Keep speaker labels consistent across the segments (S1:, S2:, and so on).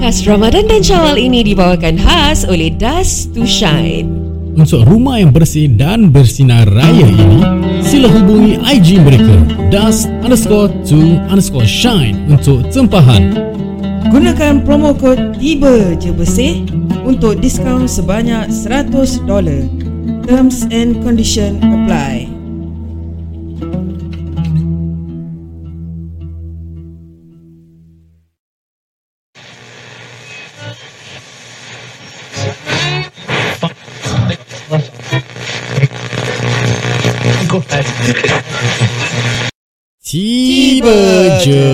S1: khas Ramadan dan Syawal ini dibawakan khas oleh Dust to Shine.
S2: Untuk rumah yang bersih dan bersinar raya ini, sila hubungi IG mereka dust underscore to underscore shine untuk tempahan.
S3: Gunakan promo kod tiba je bersih untuk diskaun sebanyak $100. Terms and condition apply.
S2: Tiba je.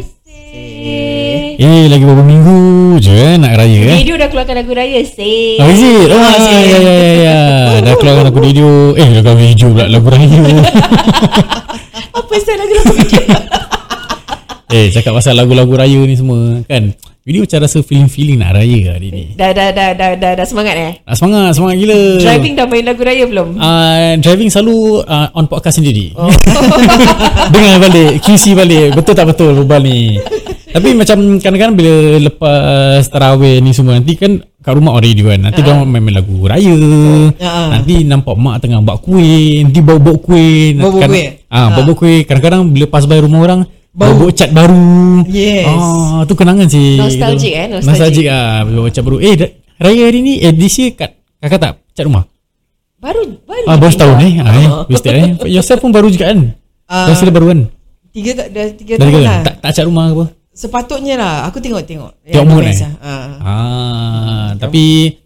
S1: Bersih.
S2: Eh, lagi beberapa minggu je eh, nak raya eh.
S1: Radio dah keluarkan lagu raya, sih.
S2: Oh, is it? Oh, ah, ya, ya, ya, ya. Dah keluarkan lagu radio. Eh, lagu radio pula, lagu raya.
S1: Apa saya lagu raya?
S2: eh, cakap pasal lagu-lagu raya ni semua, kan? Jadi macam rasa feeling-feeling nak raya hari ni.
S1: dah, dah, dah, dah, dah, dah semangat eh?
S2: Ah, semangat, semangat gila.
S1: Driving dah main lagu raya belum?
S2: Uh, driving selalu uh, on podcast sendiri. Oh. Dengar balik, QC balik. Betul tak betul berbual ni. Tapi macam kadang-kadang bila lepas tarawih ni semua nanti kan kat rumah orang radio kan. Nanti uh-huh. main, main lagu raya. Uh-huh. Nanti nampak mak tengah buat kuih, nanti bau-bau kuih.
S3: Bau-bau
S2: Kadang-
S3: kuih?
S2: Ah, ha, bau-bau kuih. Kadang-kadang bila pas by rumah orang Bau. Bau cat baru
S3: Yes.
S2: ah, Tu kenangan sih
S1: Nostalgic, eh, nostalgic.
S2: Nostalgic ah, Bau cat baru Eh da- Raya hari ni Eh this year kat Kakak tak cat rumah
S1: Baru, baru.
S2: Ah, baru setahun eh. Ah, eh.
S3: Ah.
S2: Wasted eh. Yourself pun baru juga kan? Uh,
S3: Ah.
S2: Yourself dah baru kan?
S3: Tiga tak dah tiga
S2: Dah tiga
S3: tahun
S2: kan?
S3: lah.
S2: Tak, tak cat rumah ke apa?
S3: Sepatutnya lah. Aku tengok-tengok.
S2: Tengok mood,
S3: Malaysia.
S2: eh?
S3: Ah.
S2: Ah, tapi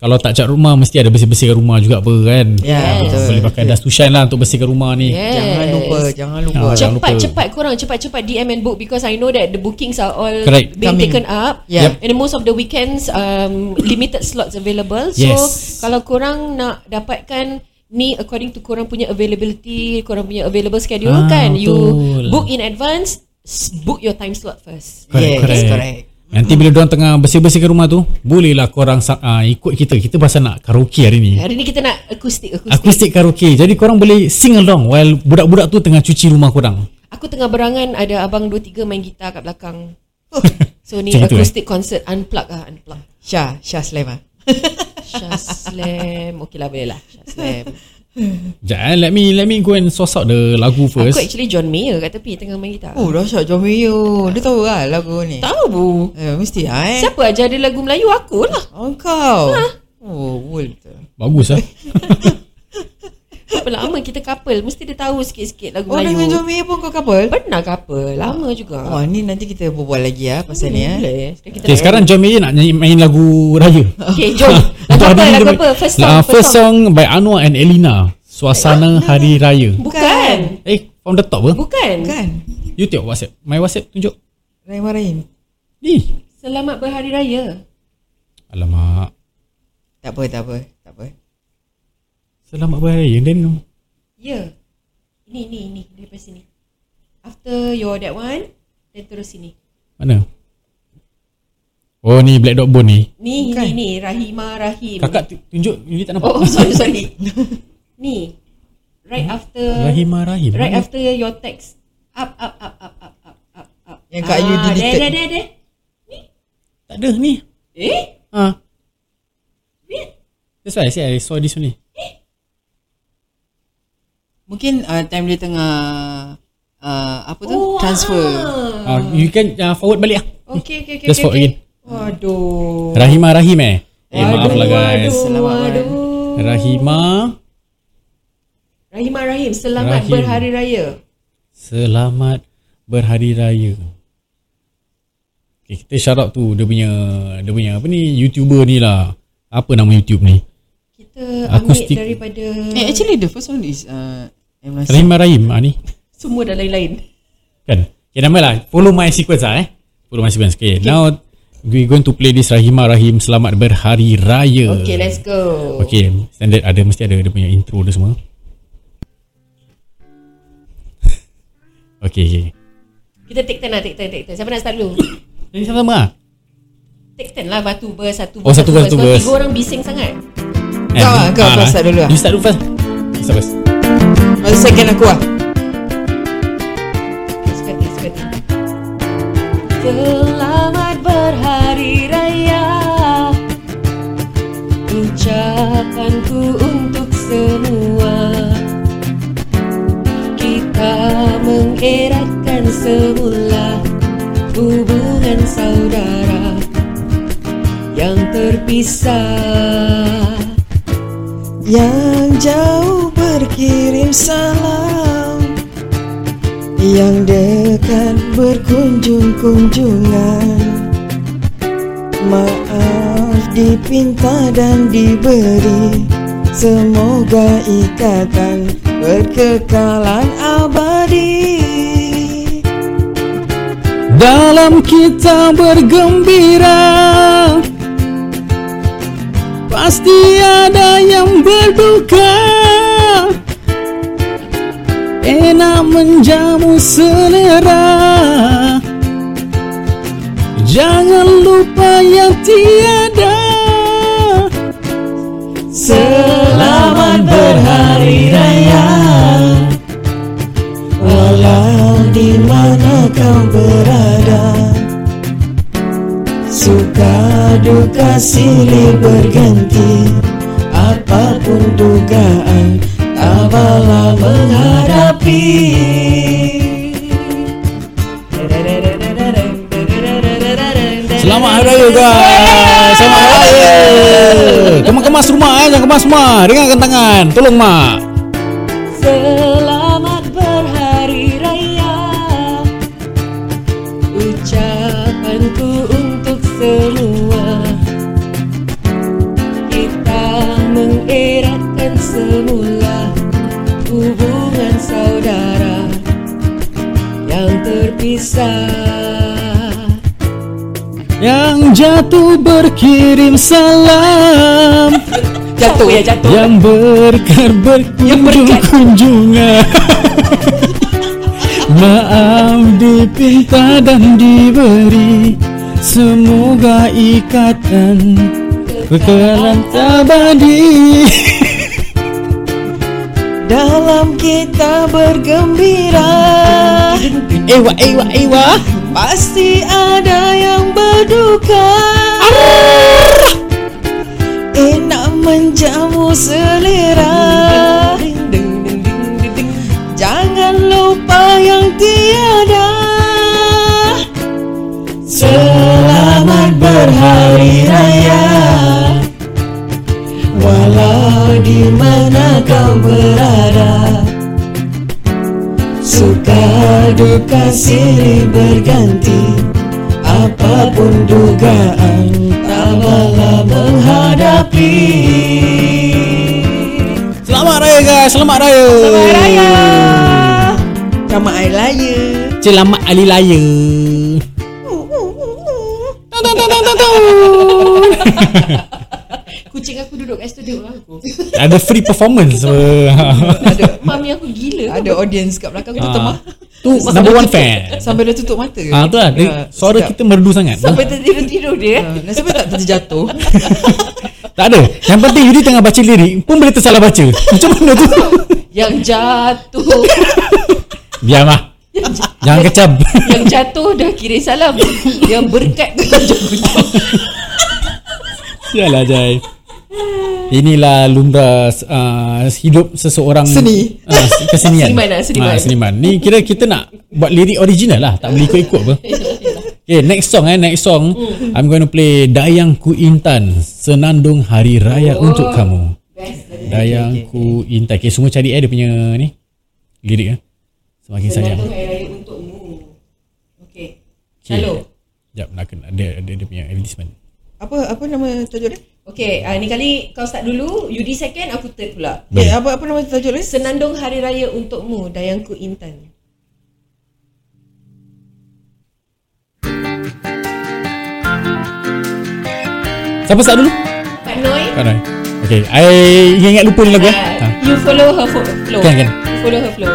S2: kalau tak cat rumah mesti ada bersih-bersihkan rumah juga apa kan?
S3: Ya,
S2: Ah,
S3: betul,
S2: Boleh pakai dust to shine lah untuk bersihkan rumah ni.
S1: Yes.
S3: Jangan lupa, jangan lupa.
S2: Ah, jangan
S1: Cepat
S2: lupa.
S1: cepat korang cepat cepat DM and book because I know that the bookings are all
S2: Correct.
S1: being
S3: Coming.
S1: taken up.
S3: Yeah.
S1: And then most of the weekends um limited slots available. So
S2: Yes.
S1: kalau korang nak dapatkan ni according to korang punya availability, korang punya available schedule
S2: Ah,
S1: kan you
S2: betul.
S1: book in advance, s- book your time slot first.
S2: Correct,
S3: Yes,
S2: correct.
S3: correct.
S2: Nanti bila diorang tengah bersih-bersihkan rumah tu, bolehlah korang sa- ah, ikut kita. Kita pasal nak karaoke hari ni.
S1: Hari ni kita nak akustik akustik.
S2: Akustik karaoke. Jadi korang boleh sing along while budak-budak tu tengah cuci rumah korang.
S1: Aku tengah berangan ada abang 2 3 main gitar kat belakang. So ni
S2: Macam itu, eh?
S1: acoustic concert unplug ah unplug.
S3: Syah, Syah Sulaiman.
S1: Shah Slam Okay lah boleh lah Shah Slam
S2: Sekejap eh. Let me, let me go and source out the lagu first.
S1: Aku actually John Mayer kat tepi Tengah main gitar
S3: Oh, dahsyat John Mayo. Dia tahu lah lagu ni.
S1: Tahu bu
S3: Eh, mesti lah eh.
S1: Siapa aja ada lagu Melayu Aku lah
S3: Oh, kau.
S1: Ha?
S3: Oh, wool betul.
S2: Bagus lah.
S1: Berapa lama kita couple Mesti dia tahu sikit-sikit lagu
S3: Oh, dengan
S1: Melayu
S3: John Mayo pun kau couple?
S1: Pernah couple Lama juga
S3: Oh, ni nanti kita berbual lagi ya pasal ni ya.
S1: Boleh Sekarang kita
S2: Okay,
S1: nak-
S2: sekarang John Mayer nak nyanyi main lagu raya.
S1: Okay jom Lagu
S2: Untuk
S1: apa
S2: hari ni
S1: Lagu
S2: dia
S1: apa
S2: main-
S1: First
S2: Ah,
S1: song
S2: first song by Anwar and Elina. Suasana Hari Raya.
S1: Bukan
S2: Eh, from the top ke?
S1: Bukan
S3: Kan?
S2: You tengok WhatsApp. My WhatsApp tunjuk.
S3: Rahim Rahim.
S2: Ni.
S1: Selamat berhari raya
S2: Alamak.
S3: Tak apa, tak apa. Tak apa.
S2: Selamat beraya Then
S1: Ya Ini ni ni Daripada sini After your that one Then terus sini
S2: Mana? Oh ni Black Dog Bone ni.
S1: Ni
S3: Bukan.
S1: ni ni Rahimah Rahim
S2: Kakak tu- tunjuk you tak nampak.
S1: Oh, oh sorry sorry. Ni. Right after
S2: Rahimah Rahim.
S1: right after your text. Up up up up up up up up. Ah,
S3: Yang kat you deleted.
S1: There there there.
S2: Tak ada ni.
S1: Eh?
S2: Ha. That's why I say I saw this only.
S3: Mungkin uh, time dia tengah uh, apa tu?
S1: Oh,
S3: Transfer.
S2: Ah, you can uh, forward balik ah.
S1: Okay okay okay.
S2: Just
S1: okay,
S2: forward
S1: okay. Waduh.
S2: Rahimah Rahim eh. Eh maaf
S1: Waduh,
S2: lah
S1: Waduh,
S2: guys.
S3: Selamat
S1: waduh.
S2: Rahimah
S1: Rahimah Rahim, selamat
S2: Rahim.
S1: berhari raya.
S2: Selamat Berhari Raya. Okay, kita shout out tu dia punya dia punya apa ni YouTuber ni lah. Apa nama YouTube ni?
S1: Kita ambil
S2: Akustik.
S1: daripada
S3: Eh, actually the first one is uh, M. Nasir.
S2: Rahimah Rahim ah, ni.
S1: semua dan lain-lain.
S2: Kan? Okay, nama lah. Follow my sequence lah eh. Follow my sequence. Okay, okay. now we going to play this Rahimah Rahim Selamat Berhari Raya.
S1: Okay, let's go.
S2: Okay, standard ada mesti ada dia punya intro dia semua. okay, okay.
S1: Kita take turn lah, take turn, take turn. Siapa nak start dulu?
S2: Jadi sama-sama lah.
S1: take turn lah, batu ber, satu
S2: Oh, satu verse, satu
S1: Kalau
S2: verse.
S1: Tiga orang bising sangat.
S2: Eh,
S3: Kau lah, kau-
S2: ah,
S3: kau start dulu lah.
S2: You start dulu first. You Start first.
S3: Masa second aku lah.
S1: Sekati, sekati. Selamat berhari eratkan semula hubungan saudara yang terpisah.
S3: Yang jauh berkirim salam Yang dekat berkunjung-kunjungan Maaf dipinta dan diberi Semoga ikatan berkekalan abadi
S2: Dalam kita bergembira Pasti ada yang berduka Enak menjamu selera Jangan lupa yang tiada
S3: Selamat berhari raya Walau di mana kau berada Suka duka silih berganti Apapun dugaan Tak bala menghadapi
S2: Selamat Hari Raya guys Selamat Hari Raya Kemas-kemas rumah eh Jangan kemas rumah Dengarkan tangan Tolong mak
S1: Selamat berhari raya Ucapanku untuk semua Kita mengeratkan semula Hubungan saudara Yang terpisah
S2: Yang jatuh berkirim salam
S1: Jatuh ya jatuh
S2: Yang berkar berkunjung kunjungan Maaf dipinta dan diberi Semoga ikatan Kekalan abadi
S3: Dalam kita bergembira
S2: Ewa ewa ewa
S3: Pasti ada yang berduka Enak menjamu selera Jangan lupa yang tiada Selamat berhari raya Walau di mana kau berada Suka duka silih berganti Apapun dugaan Tak malah menghadapi
S2: Selamat raya guys, selamat raya. Selamat raya.
S3: Ramai air raya
S2: Selamat hari raya. Tang tang tang tang tang. tang.
S1: Kucing aku duduk kat studio lah aku
S2: Ada free performance. Ha. Ada
S3: Ada
S1: Mami aku gila
S3: ada audience kat belakang kita temah
S2: Tu number one fan.
S3: Sampai dia tutup mata
S2: Ah tu lah.
S3: Ya,
S2: Dia- Suara
S3: sedap.
S2: kita merdu sangat.
S1: Sampai tertidur-tidur dia eh?
S3: Ah, Dan sampai tak terjatuh
S2: Tak ada. Yang penting Yudi tengah baca lirik pun boleh tersalah baca. Macam mana tu?
S1: Yang jatuh
S2: Biar mah. Jangan kecap.
S1: Yang jatuh dah kira salam Yang berkat
S2: Sialah Jai. Inilah lumrah uh, hidup seseorang
S3: Seni.
S2: uh, kesenian.
S1: Seniman lah, seniman.
S2: Ah, seniman. Ni kira kita nak buat lirik original lah, tak boleh ikut-ikut apa. Okay, next song eh, next song.
S1: Hmm.
S2: I'm going to play Dayang Ku Intan, Senandung Hari Raya
S1: Oh.
S2: untuk kamu.
S1: Best
S2: Dayang Ku Intan. Okay, semua cari eh dia punya ni lirik eh. Semakin sayang.
S1: Senandung air raya untukmu Okay
S2: Okay.
S1: Shalom
S2: Jap, nak kena ada ada dia punya advertisement.
S3: Apa apa nama tajuk dia?
S1: Okay uh, ni kali kau start dulu Yudi second aku third pula
S3: Okay, Eh, apa apa nama tajuk dia?
S1: Senandung Hari Raya untukmu Dayangku Intan
S2: Siapa start dulu?
S1: Pak Noi
S2: Kau dah. Okay, I ingat lupa ni lagu eh. Ha.
S1: uh, You follow her fo- flow
S2: Kan, kan.
S1: You follow her flow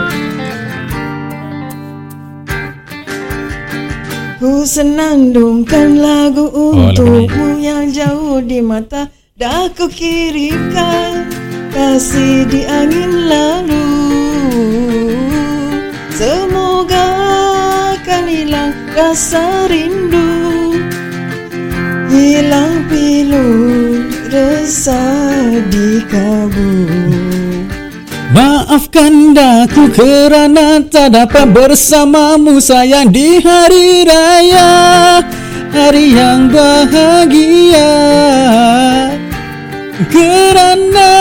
S3: Ku senandungkan lagu
S2: Oh, lagu ni.
S3: untukmu yang jauh di mata Dah ku kirimkan kasih di angin lalu Semoga akan hilang rasa rindu Hilang pilu resah di kabut
S2: Maaf Maafkan aku kerana tak dapat bersamamu sayang di hari raya Hari yang bahagia Kerana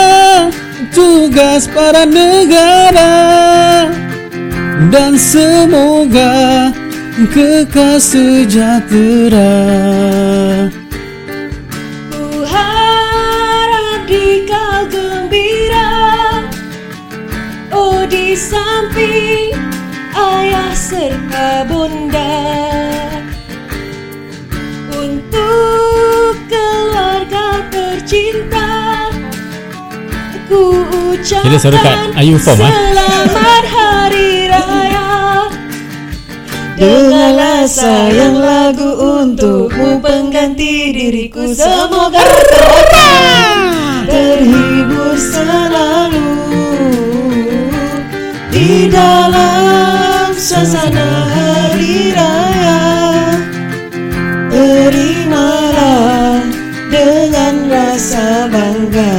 S2: tugas para negara Dan semoga kekal sejahtera
S1: Ku harap dikau gembira Oh di samping ayah serta bunda Untuk keluarga tercinta Ku ucapkan
S2: Kira suara kat Ayu form, ah.
S1: Selamat Hari Raya
S3: Dengar rasa yang lagu untukmu pengganti diriku Semoga terhibur selalu Di dalam suasana hari raya Terimalah dengan rasa bangga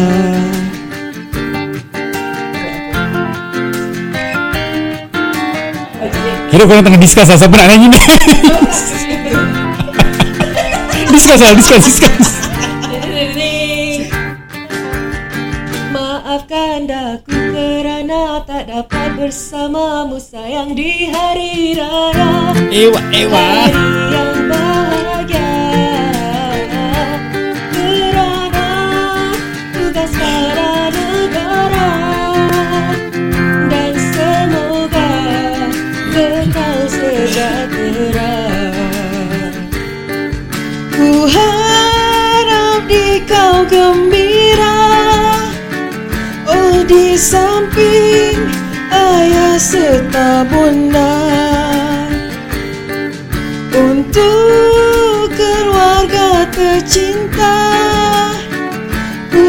S2: Kira korang tengah discuss lah Siapa nak nyanyi ni Discuss lah Discuss Discuss
S1: Maafkan aku kerana tak dapat bersamamu sayang di hari raya
S2: Ewa Ewa
S1: Hari yang bahagia Kerana tugas para negara Dan semoga kekal sejahtera
S3: Ku harap di kau gembira Oh di samping ayah serta bunda Untuk keluarga tercinta Ku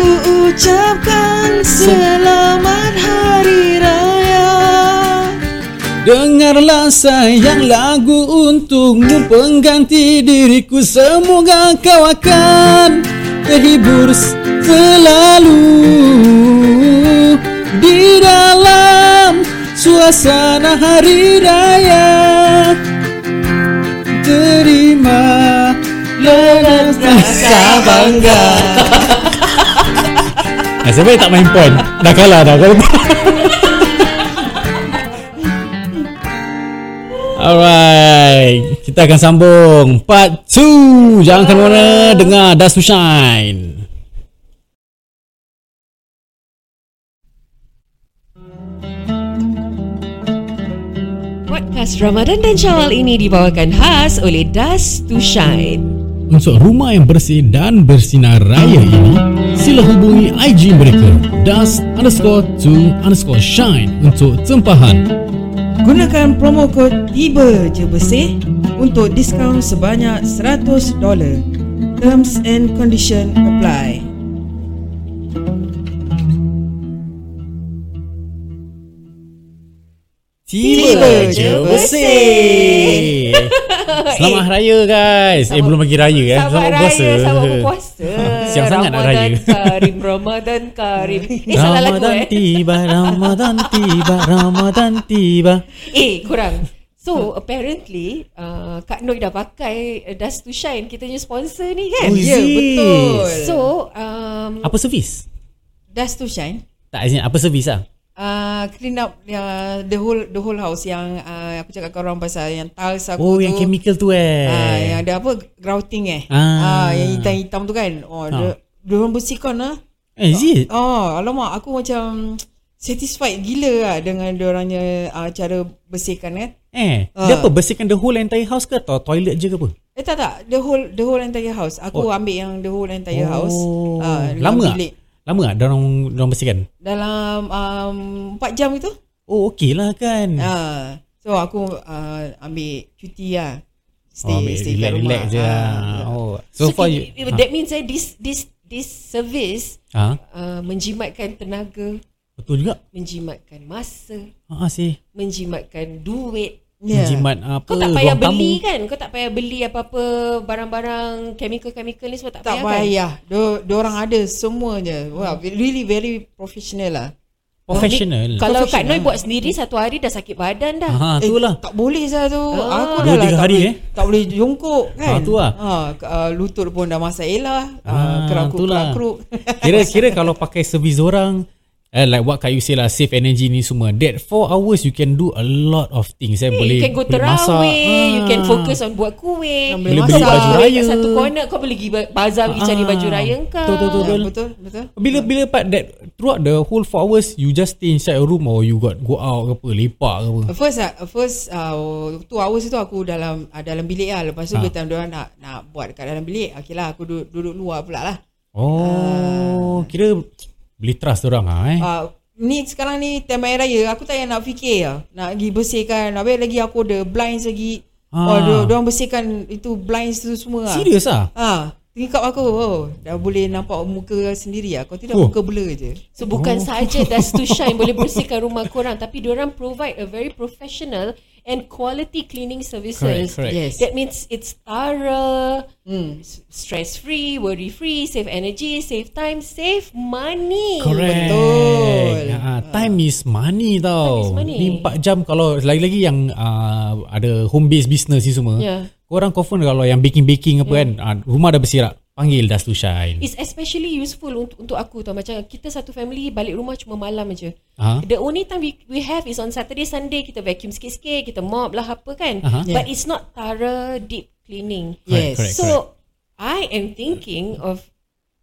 S3: ucapkan selamat hari raya
S2: Dengarlah sayang lagu untukmu Pengganti diriku Semoga kau akan Terhibur selalu Di dalam suasana hari raya Terima Lelah rasa bangga Nasib baik tak main point Dah kalah dah kalau Alright Kita akan sambung Part 2 Jangan ke mana Dengar Dust to Shine
S1: Podcast Ramadan dan Syawal ini dibawakan khas oleh Dust to Shine
S2: Untuk rumah yang bersih dan bersinar raya ini Sila hubungi IG mereka Dust underscore to underscore shine Untuk tempahan
S3: Gunakan promo kod tiba je bersih untuk diskaun sebanyak $100. Terms and condition apply. Tiba je bersih.
S2: Selamat Hari Raya guys Eh belum lagi Raya eh
S1: Selamat Raya, selamat berpuasa
S2: Siang sangat nak
S1: Ramadan
S2: Raya.
S1: Karim, Ramadan Karim Eh salah lagu
S2: Ramadan
S1: eh
S2: tiba Ramadan tiba Ramadan tiba
S1: Eh korang So apparently uh, Kak Noi dah pakai uh, Dust to Shine Kita punya sponsor ni kan
S2: Oh, is
S4: Ya,
S2: it?
S1: So um,
S2: Apa servis?
S4: Dust to shine
S2: Tak as in apa servis lah
S4: uh, Clean up uh, the whole the whole house Yang uh, aku cakap kau orang pasal Yang tiles aku
S2: Oh
S4: tu
S2: yang chemical tu eh
S4: uh, Yang ada apa Grouting eh ah.
S2: Ah.
S4: Yang hitam-hitam tu kan Oh
S2: Ah.
S4: ha. Dia orang bersihkan lah
S2: Eh is it?
S4: Oh alamak Aku macam Satisfied gila lah Dengan dia orangnya uh, Cara bersihkan kan
S2: Eh
S4: Ah.
S2: Dia apa bersihkan the whole entire house ke Atau toilet je ke apa?
S4: Eh tak tak The whole the whole entire house Aku oh.
S2: Oh.
S4: ambil yang The whole entire house
S2: Oh.
S4: Ah, dengan
S2: Lama tak?
S4: bilik.
S2: Lama tak dorang, dorang bersihkan?
S4: Dalam um, 4 jam itu
S2: Oh okey lah kan
S4: Ah, so aku uh, ambil cuti lah. Stay,
S2: Oh, ambil
S4: stay kat rumah.
S2: relax,
S4: Ah,
S2: relax je lah. Oh. So, far you,
S1: it, That means eh, this this this service
S2: ha? ha?
S1: uh, menjimatkan tenaga,
S2: Betul juga.
S1: menjimatkan masa,
S2: Ha ah, sih.
S1: menjimatkan duit.
S4: Yeah.
S2: Jimat apa?
S1: Kau tak payah
S2: ruang tamu.
S1: beli kan? Kau tak payah beli apa-apa barang-barang chemical-chemical ni semua tak,
S4: Tak
S1: payah kan?
S4: payah. Dia orang ada semuanya. Wow, really very professional lah.
S2: Professional.
S1: Kalau Kak
S3: Professional.
S1: Noi buat sendiri satu hari dah sakit badan dah.
S2: Ha,
S3: Eh,
S2: tu lah.
S3: Tak boleh saya tu.
S1: Ah.
S3: Aku
S2: Dua,
S3: dah lah
S2: tiga
S3: tak
S2: hari,
S3: boleh,
S2: eh.
S3: Tak boleh jongkok kan.
S2: Ah, tu lah.
S3: Ha, k- ah, lutut pun dah masalah.
S2: Ah,
S3: Ha, ah,
S2: tu lah.
S3: kerakuk-kerakuk.
S2: Kira kira kalau pakai servis orang eh, like what Kak you say lah save energy ni semua. That 4 hours you can do a lot of things.
S1: Eh,
S2: Eh, boleh
S1: you can go
S2: boleh masak.
S1: terawih, you can
S2: Ah.
S1: focus on buat kuih,
S3: Boleh
S1: Kau
S3: beli
S1: tak
S3: baju
S1: boleh kat
S2: raya.
S1: Satu corner kau boleh pergi ba- bazar pergi cari
S2: Ah.
S1: baju raya kau.
S2: Betul, betul,
S3: Ah, Betul, betul.
S2: Bila bila part that throughout the whole 4 hours you just stay inside your room or you got go out ke apa, lepak ke apa.
S3: First ah, first uh, two hours tu aku dalam ah, dalam bilik lah. Lepas tu
S2: Ah.
S3: ha. time dia nak nak buat kat dalam bilik. Okey lah aku duduk, duduk luar pula lah.
S2: Oh, kira boleh trust orang ah eh.
S3: Uh, ni sekarang ni time air raya aku tak payah nak fikir lah. Nak pergi bersihkan. Habis lagi aku ada blinds lagi.
S2: Ah.
S3: Ha. Oh, dia orang bersihkan itu blinds tu semua. lah.
S2: Serius ah.
S3: Ha, tingkap aku. Oh, dah boleh nampak muka sendiri ah. Kau tidak
S2: Oh.
S3: oh. muka blur je.
S1: So bukan saja Dust to Shine boleh bersihkan rumah korang tapi diorang provide a very professional and quality cleaning services.
S2: Correct, correct.
S3: Yes.
S1: That means it's thorough,
S3: Hmm.
S1: stress free, worry free, save energy, save time, save money.
S2: Correct.
S3: Betul.
S2: Ah, time is money
S1: Time
S2: tau.
S1: is money.
S2: Ni 4 jam kalau lagi-lagi yang ah, ada home based business ni semua.
S1: Yeah.
S2: Korang confirm kalau yang baking-baking
S1: Ya.
S2: apa kan, ah, rumah dah bersirat, panggil Dust to Shine.
S1: It's especially useful untuk untuk aku tau macam kita satu family balik rumah cuma malam aja.
S2: Ah.
S1: The only time we we have is on Saturday Sunday kita vacuum sikit-sikit, kita mop lah apa kan.
S2: Aha.
S1: But it's not thorough deep cleaning.
S2: Correct,
S3: Yes.
S2: correct, correct.
S1: So I am thinking of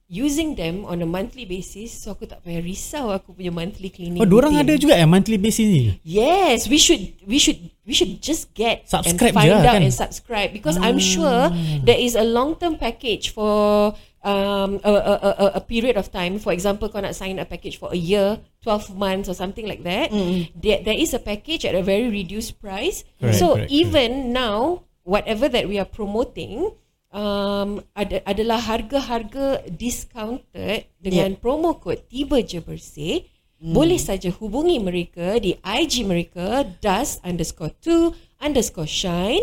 S1: using them on a monthly basis so aku tak payah risau aku punya monthly cleaning.
S2: Oh, diorang
S1: routine.
S2: ada juga eh monthly basis ni.
S1: Yes, we should we should we should just get
S2: Subscribe
S1: and find
S2: je lah,
S1: out
S2: kan? Hmm.
S1: and subscribe because I'm sure there is a long term package for um a, a, a, a- a period of time. For example, kau nak sign a package for a year, 12 months or something like that. There, there is a package at a very reduced price.
S2: Hmm. Correct,
S1: so
S2: correct,
S1: even now, whatever that we are promoting um ada, adalah harga-harga discounted dengan promo code tiba je bersih
S2: Hmm.
S1: boleh saja hubungi mereka di IG mereka dust underscore two underscore shine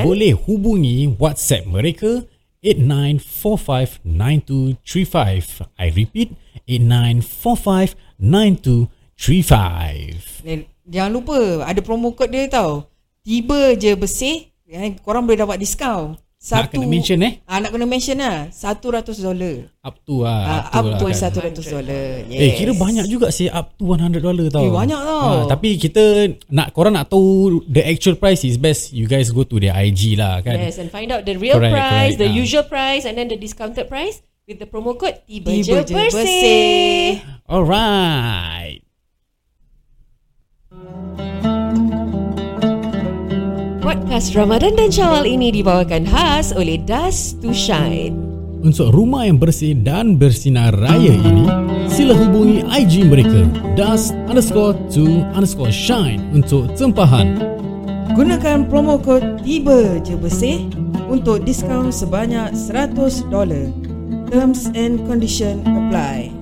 S1: dan,
S2: boleh hubungi WhatsApp mereka 89459235. I repeat 89459235.
S3: Dan jangan lupa ada promo code dia tau. Tiba je bersih, eh, korang boleh dapat diskaun.
S2: Nak kena mention, eh?
S3: Ah, nak kena mention lah. $100. dollar.
S2: Up to lah.
S3: Ah, up to
S2: kan.
S3: $100. dollar. Yes.
S2: Eh kira banyak juga sih up to 100 dollar tau. Ha,
S3: Eh, banyak tau.
S2: tapi kita nak korang nak tahu the actual price is best you guys go to their IG lah kan.
S1: yes and find out the real
S2: Correct,
S1: price
S2: correct,
S1: the
S2: ah.
S1: usual price and then the discounted price with the promo code tiba,
S3: Tiba
S1: je
S3: je
S1: bersih,
S3: bersih.
S2: Alright.
S1: Podcast Ramadan dan Syawal ini dibawakan khas oleh Dust to Shine.
S2: Untuk rumah yang bersih dan bersinar raya ini, sila hubungi IG mereka dust underscore to underscore shine untuk tempahan.
S5: Gunakan promo kod tiba je bersih untuk diskaun sebanyak $100. Terms and condition apply.